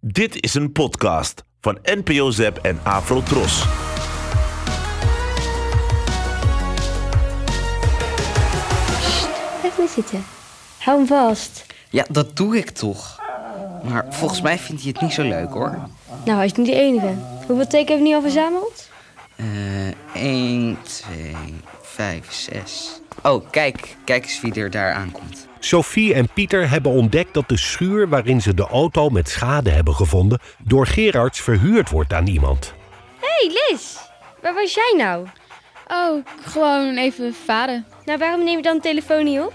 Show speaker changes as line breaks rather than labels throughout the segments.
Dit is een podcast van NPO Zep en Afro Tros.
Blijf niet zitten. Hou hem vast.
Ja, dat doe ik toch. Maar volgens mij vindt hij het niet zo leuk hoor.
Nou, hij is niet de enige. Hoeveel teken hebben we nu al verzameld?
Eh 1, 2, 5, 6. Oh, kijk, kijk eens wie er daar aankomt.
Sophie en Pieter hebben ontdekt dat de schuur waarin ze de auto met schade hebben gevonden door Gerards verhuurd wordt aan iemand.
Hé, hey Liz. Waar was jij nou?
Oh, gewoon even varen.
Nou, waarom neem je dan de telefoon niet op?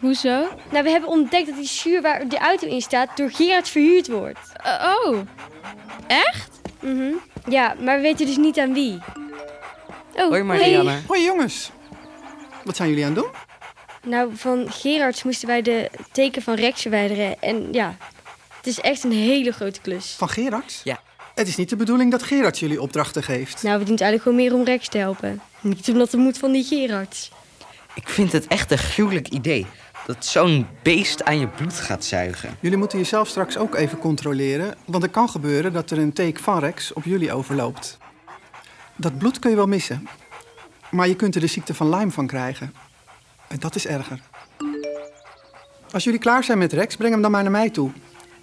Hoezo?
Nou, we hebben ontdekt dat die schuur waar de auto in staat door Gerard verhuurd wordt.
Eh, oh, echt?
Mhm. Ja, maar we weten dus niet aan wie. Oh,
Hoi Marianne.
Hoi jongens. Wat zijn jullie aan het doen?
Nou, van Gerards moesten wij de teken van Rex verwijderen. En ja, het is echt een hele grote klus.
Van Gerards?
Ja.
Het is niet de bedoeling dat Gerards jullie opdrachten geeft.
Nou, we doen het eigenlijk gewoon meer om Rex te helpen. Niet omdat het moet van die Gerards.
Ik vind het echt een gruwelijk idee dat zo'n beest aan je bloed gaat zuigen.
Jullie moeten jezelf straks ook even controleren, want het kan gebeuren dat er een take van Rex op jullie overloopt. Dat bloed kun je wel missen, maar je kunt er de ziekte van Lyme van krijgen. En dat is erger. Als jullie klaar zijn met Rex, breng hem dan maar naar mij toe.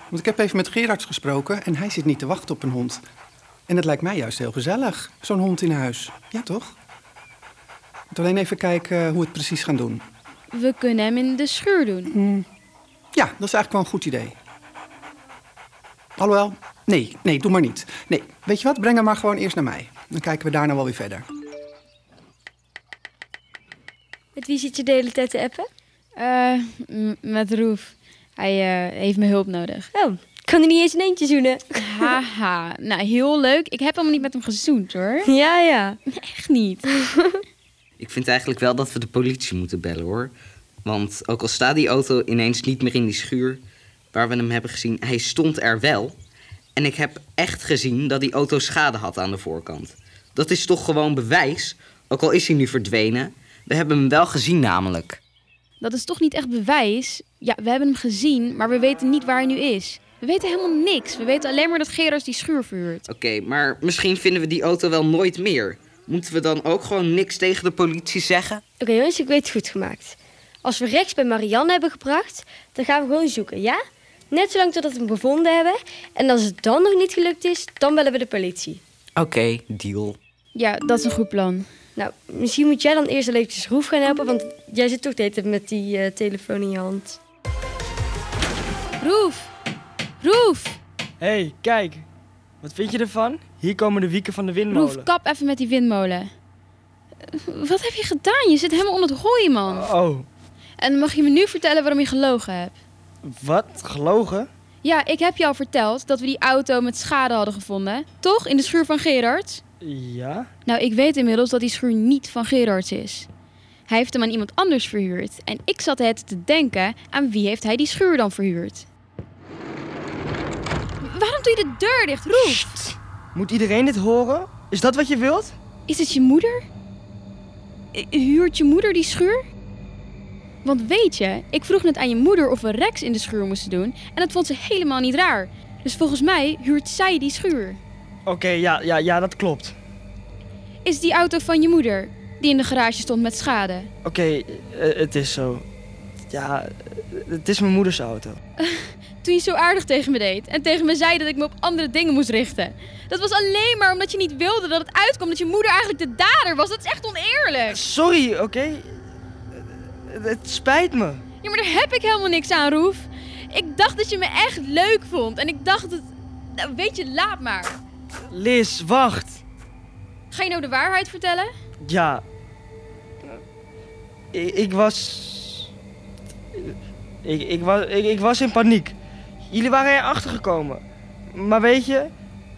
Want ik heb even met Gerards gesproken en hij zit niet te wachten op een hond. En het lijkt mij juist heel gezellig, zo'n hond in huis. Ja, toch? Moet alleen even kijken eh, hoe we het precies gaan doen.
We kunnen hem in de schuur doen.
Ja, dat is eigenlijk wel een goed idee. Alhoewel, nee, nee, doe maar niet. Nee, weet je wat? Breng hem maar gewoon eerst naar mij. Dan kijken we daarna wel weer verder.
Met wie zit je de hele tijd te appen?
Eh, m- met Roef. Hij eh, heeft mijn hulp nodig.
Oh, ik kan er niet eens in eentje zoenen.
Haha, nou heel leuk. Ik heb helemaal niet met hem gezoend hoor.
Ja, ja.
Echt niet.
Ik vind eigenlijk wel dat we de politie moeten bellen hoor. Want ook al staat die auto ineens niet meer in die schuur waar we hem hebben gezien, hij stond er wel. En ik heb echt gezien dat die auto schade had aan de voorkant. Dat is toch gewoon bewijs, ook al is hij nu verdwenen. We hebben hem wel gezien namelijk.
Dat is toch niet echt bewijs? Ja, we hebben hem gezien, maar we weten niet waar hij nu is. We weten helemaal niks. We weten alleen maar dat Gerards die schuur verhuurt.
Oké, maar misschien vinden we die auto wel nooit meer. Moeten we dan ook gewoon niks tegen de politie zeggen?
Oké jongens, ik weet het goed gemaakt. Als we Rex bij Marianne hebben gebracht, dan gaan we gewoon zoeken, ja? Net zolang totdat we hem gevonden hebben. En als het dan nog niet gelukt is, dan bellen we de politie.
Oké, deal.
Ja, dat is een goed plan.
Nou, misschien moet jij dan eerst al eventjes Roef gaan helpen, want jij zit toch de hele tijd met die eh, telefoon in je hand.
Roef! Roef!
Hé, hey, kijk. Wat vind je ervan? Hier komen de wieken van de windmolen.
Roef, kap even met die windmolen. Eh, Wat heb je gedaan? Je zit helemaal onder het hooi, man.
Oh,
En mag je me nu vertellen waarom je gelogen hebt?
wat? Gelogen?
Ja, ik heb je al verteld dat we die auto met schade hadden gevonden. Toch? In de schuur van Gerard?
Ja?
Nou, ik weet inmiddels dat die schuur niet van Gerards is. Hij heeft hem aan iemand anders verhuurd. En ik zat het te denken, aan wie heeft hij die schuur dan verhuurd? Waarom doe je de deur dicht, Roef?
Moet iedereen dit horen? Is dat wat je wilt?
Is het je moeder? I- Huurt je moeder die schuur? Want weet je, ik vroeg net aan je moeder of we Rex in de schuur moesten doen en dat vond ze helemaal niet raar. Dus volgens mij huurt zij die schuur.
Oké, ja, ja, ja, dat klopt.
Is die auto van je moeder, die in de garage stond met schade?
Oké, eh, het is zo. Ja, eh, het is mijn moeders auto.
Toen je zo aardig tegen me deed en tegen me zei dat ik me op andere dingen moest richten. Dat was alleen maar omdat je niet wilde dat het uitkwam dat je moeder eigenlijk de dader was. Dat is echt oneerlijk.
Sorry, oké? Eh, Het spijt me.
Ja, maar daar heb ik helemaal niks aan, Roef. Ik dacht dat je me echt leuk vond. En ik dacht dat... Nou, weet je, laat maar.
Liz, wacht.
Ga je nou de waarheid vertellen?
Ja. Eh, Ik, ik was... Ik, ik, was ik, ik was in paniek. Jullie waren erachter gekomen. Maar weet je,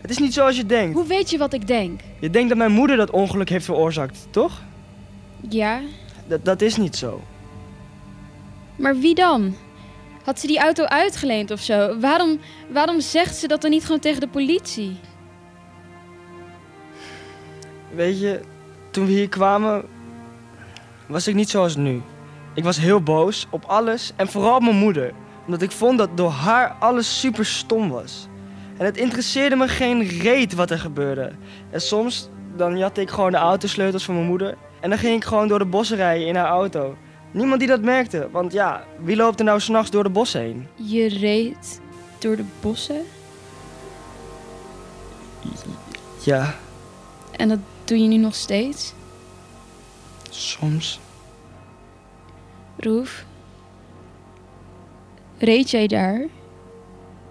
het is niet zoals je denkt.
Hoe weet je wat ik denk?
Je denkt dat mijn moeder dat ongeluk heeft veroorzaakt, toch?
Ja,
Dat, dat is niet zo.
maar wie dan? Had ze die auto uitgeleend of zo? Waarom, waarom zegt ze dat dan niet gewoon tegen de politie?
Weet je, toen we hier kwamen, was ik niet zoals nu. Ik was heel boos op alles en vooral op mijn moeder. Omdat ik vond dat door haar alles super stom was. En En het interesseerde me geen reet wat er gebeurde. En soms, dan jatte ik gewoon de autosleutels van mijn moeder. En dan ging ik gewoon door de bossen rijden in haar auto. Niemand die dat merkte, want ja, wie loopt er nou s'nachts door de bossen heen?
Je reed door de bossen
Ja,
en dat doe je nu nog steeds.
soms.
Roef, reed jij daar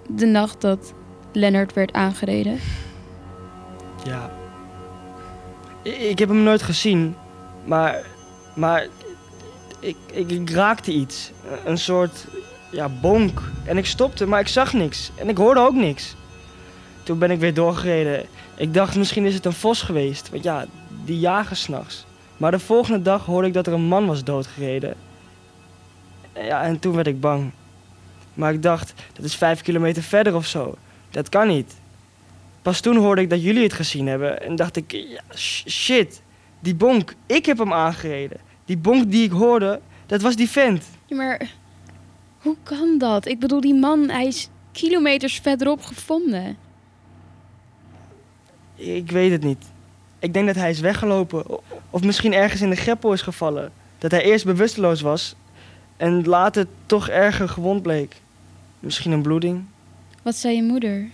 de nacht dat Lennart werd aangereden?
Ja. I- Ik heb hem nooit gezien, maar. Maar. Ik, ik, ik raakte iets. Een soort. Ja, bonk. En ik stopte, maar ik zag niks. En ik hoorde ook niks. Toen ben ik weer doorgereden. Ik dacht, misschien is het een vos geweest. Want ja, die jagen s'nachts. Maar de volgende dag hoorde ik dat er een man was doodgereden. En Ja, en toen werd ik bang. Maar ik dacht, dat is vijf kilometer verder of zo. Dat kan niet. Pas toen hoorde ik dat jullie het gezien hebben en dacht ik, ja, sh- shit, die bonk, ik heb hem aangereden. Die bonk die ik hoorde, dat was die vent.
Ja, maar hoe kan dat? Ik bedoel, die man, hij is kilometers verderop gevonden.
Ik weet het niet. Ik denk dat hij is weggelopen o- of misschien ergens in de greppel is gevallen. Dat hij eerst bewusteloos was en later toch erger gewond bleek. Misschien een bloeding.
Wat zei je moeder?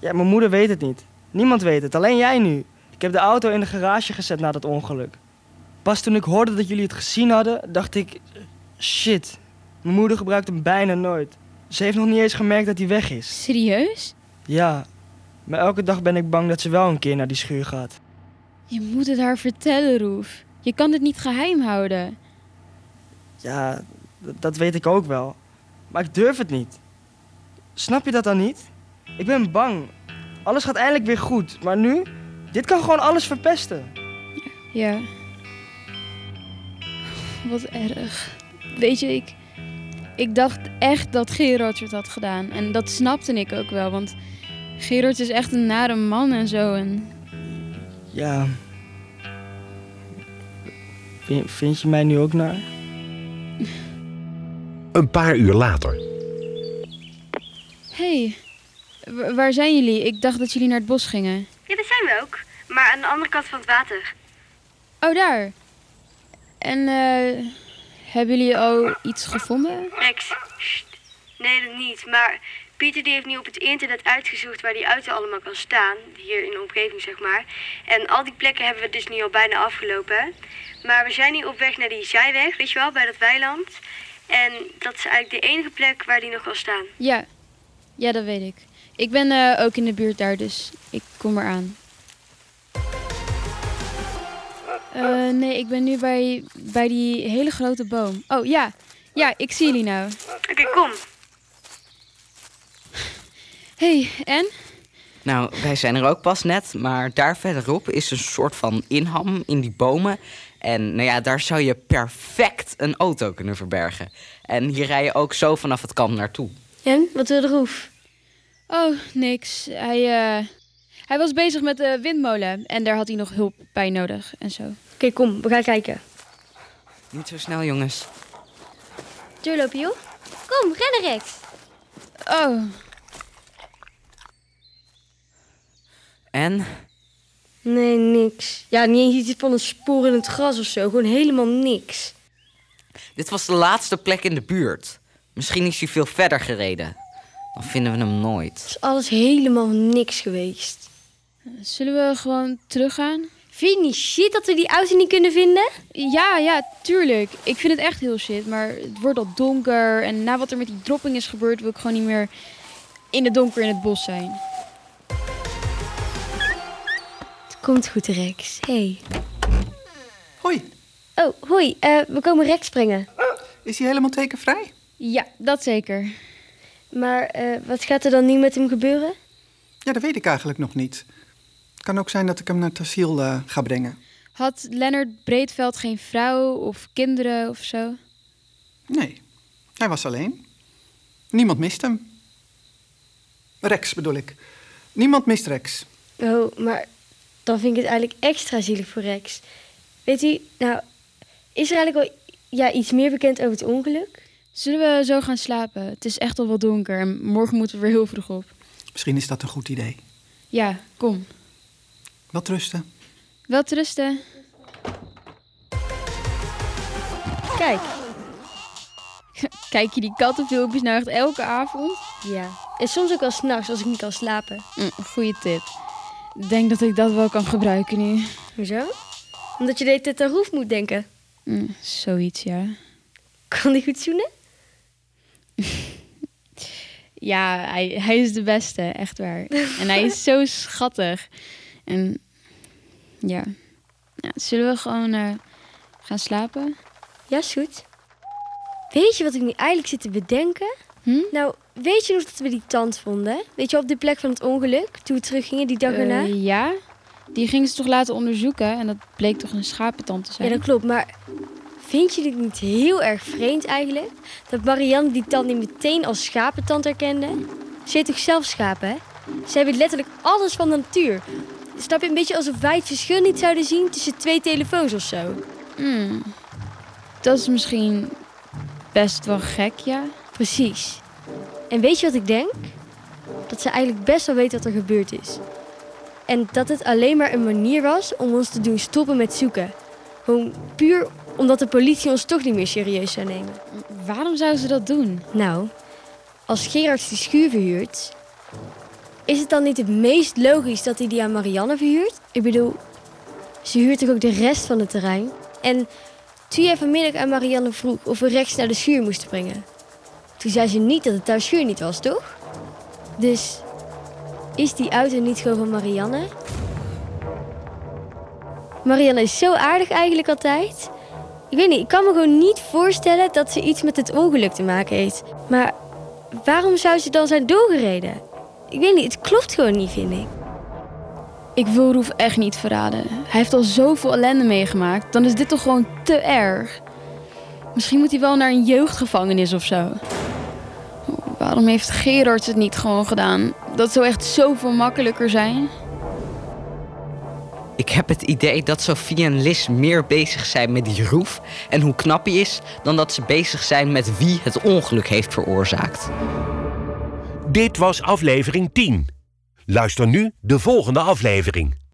Ja, mijn moeder weet het niet. Niemand weet het, alleen jij nu. Ik heb de auto in de garage gezet na dat ongeluk. Pas toen ik hoorde dat jullie het gezien hadden, dacht ik... Shit, mijn moeder gebruikt hem bijna nooit. Ze heeft nog niet eens gemerkt dat hij weg is.
Serieus?
Ja, maar elke dag ben ik bang dat ze wel een keer naar die schuur gaat.
Je moet het haar vertellen, Roef. Je kan dit niet geheim houden.
Ja, d- dat weet ik ook wel. Maar ik durf het niet. Snap je dat dan niet? Ik ben bang. Alles gaat eindelijk weer goed, maar nu... Dit kan gewoon alles verpesten.
Ja. Wat erg. Weet je, ik, ik dacht echt dat Gerard het had gedaan. En dat snapte ik ook wel, want Gerard is echt een nare man en zo. En
Ja. Vind, vind je mij nu ook naar?
Een paar uur later.
Hé, hey, waar zijn jullie? Ik dacht dat jullie naar het bos gingen.
Ja, dat zijn we ook. Maar aan de andere kant van het water.
Oh, daar. En eh, hebben jullie al iets gevonden?
Rex, sst. Nee, dat niet. Maar Pieter die heeft nu op het internet uitgezocht waar die auto allemaal kan staan. Hier in de omgeving, zeg maar. En al die plekken hebben we dus nu al bijna afgelopen. hè. Maar we zijn nu op weg naar die zijweg, weet je wel, bij dat weiland. En dat is eigenlijk de enige plek waar die nog kan staan.
Ja, ja dat weet ik. Ik ben eh, ook in de buurt daar, dus ik kom eraan. Eh, nee, ik ben nu bij, bij die hele grote boom. Oh ja, ja, ik zie jullie nou.
Oké, kom.
hey, en?
Nou, wij zijn er ook pas net, maar daar verderop is een soort van inham in die bomen. En nou ja, daar zou je perfect een auto kunnen verbergen. En hier rij je ook zo vanaf het kamp naartoe.
En, wat wil de roef?
Oh, niks. Hij, eh, hij was bezig met de windmolen en daar had hij nog hulp bij nodig en zo.
Oké, kom. We gaan kijken.
Niet zo snel, jongens.
Doorlopen, joh. Kom, rennen, Rex.
Oh,
En?
Nee, niks. Ja, niet eens iets van een spoor in het gras of zo. Gewoon helemaal niks.
Dit was de laatste plek in de buurt. Misschien is hij veel verder gereden. Dan vinden we hem nooit.
Het is alles helemaal niks geweest.
zullen we gewoon teruggaan?
Vind je niet shit dat we die auto niet kunnen vinden?
Ja, ja, tuurlijk. Ik vind het echt heel shit, maar het wordt al donker. En na wat er met die dropping is gebeurd, wil ik gewoon niet meer in het donker in het bos zijn.
Het komt goed, Rex. Hey.
Hoi,
Oh, hoi. eh, we komen Rex brengen.
is hij helemaal tekenvrij?
Ja, dat zeker.
Maar eh, wat gaat er dan nu met hem gebeuren?
Ja, dat weet ik eigenlijk nog niet. Het kan ook zijn dat ik hem naar Tassiel eh, ga brengen.
Had Lennart Breedveld geen vrouw of kinderen of zo?
Nee, hij was alleen. Niemand mist hem. Rex bedoel ik. Niemand mist Rex.
Oh, maar dan vind ik het eigenlijk extra zielig voor Rex. Weet u, nou, is er eigenlijk al ja, iets meer bekend over het ongeluk?
Zullen we zo gaan slapen? Het is echt al wel donker en morgen moeten we weer heel vroeg op.
Misschien is dat een goed idee.
Ja, kom.
Wat rusten.
Wel rusten. Kijk. Kijk je die kattenfilmpjes nou echt elke avond?
Ja. En soms ook wel s'nachts als ik niet kan slapen.
Hm, goeie tip. Ik Denk dat ik dat wel kan gebruiken nu.
Hoezo? Omdat je de hele tijd aan Roef moet denken.
Hm, zoiets, ja.
Kan die goed zoenen?
Ja, hij, hij is de beste, echt waar. En hij is zo schattig. En ja. Ja, zullen we gewoon eh, gaan slapen?
Ja, is goed. Weet je wat ik nu eigenlijk zit te bedenken?
Hm?
Nou, weet je nog dat we die tand vonden? Weet je, op de plek van het ongeluk, toen we teruggingen die dag erna?
Eh, ja. Die ging ze toch laten onderzoeken en dat bleek toch een schapentand te
ja,
zijn.
dat klopt. Maar vind je dit niet heel erg vreemd eigenlijk? Dat Marianne die tand niet meteen als schapentand herkende? Ze heet toch zelf schapen, hè? Ze hebben letterlijk alles van de natuur. Snap je, een beetje alsof wij het verschil niet zouden zien tussen twee telefoons of zo.
Hmm. Dat is misschien best wel gek, ja.
Precies. En weet je wat ik denk? Dat ze eigenlijk best wel weet wat er gebeurd is. En dat het alleen maar een manier was om ons te doen stoppen met zoeken. Gewoon puur omdat de politie ons toch niet meer serieus zou nemen.
Waarom zou ze dat doen?
Nou, als Gerard die schuur verhuurt, is het dan niet het meest logisch dat hij die aan Marianne verhuurt? Ik bedoel, ze huurt toch ook de rest van het terrein? En toen jij vanmiddag aan Marianne vroeg of we rechts naar de schuur moesten brengen, toen zei ze niet dat het haar schuur niet was, toch? Dus is die auto niet gewoon van Marianne? Marianne is zo aardig eigenlijk altijd. Ik weet niet, ik kan me gewoon niet voorstellen dat ze iets met het ongeluk te maken heeft. Maar waarom zou ze dan zijn doorgereden? Ik weet niet, het klopt gewoon niet, vind ik.
Ik wil Roef echt niet verraden. Hij heeft al zoveel ellende meegemaakt. Dan is dit toch gewoon te erg. Misschien moet hij wel naar een jeugdgevangenis of zo. Oh, Waarom heeft Gerard het niet gewoon gedaan? Dat zou echt zoveel makkelijker zijn.
Ik heb het idee dat Sophie en Liz meer bezig zijn met die roef en hoe knap hij is, dan dat ze bezig zijn met wie het ongeluk heeft veroorzaakt.
Dit was aflevering 10. Luister nu de volgende aflevering.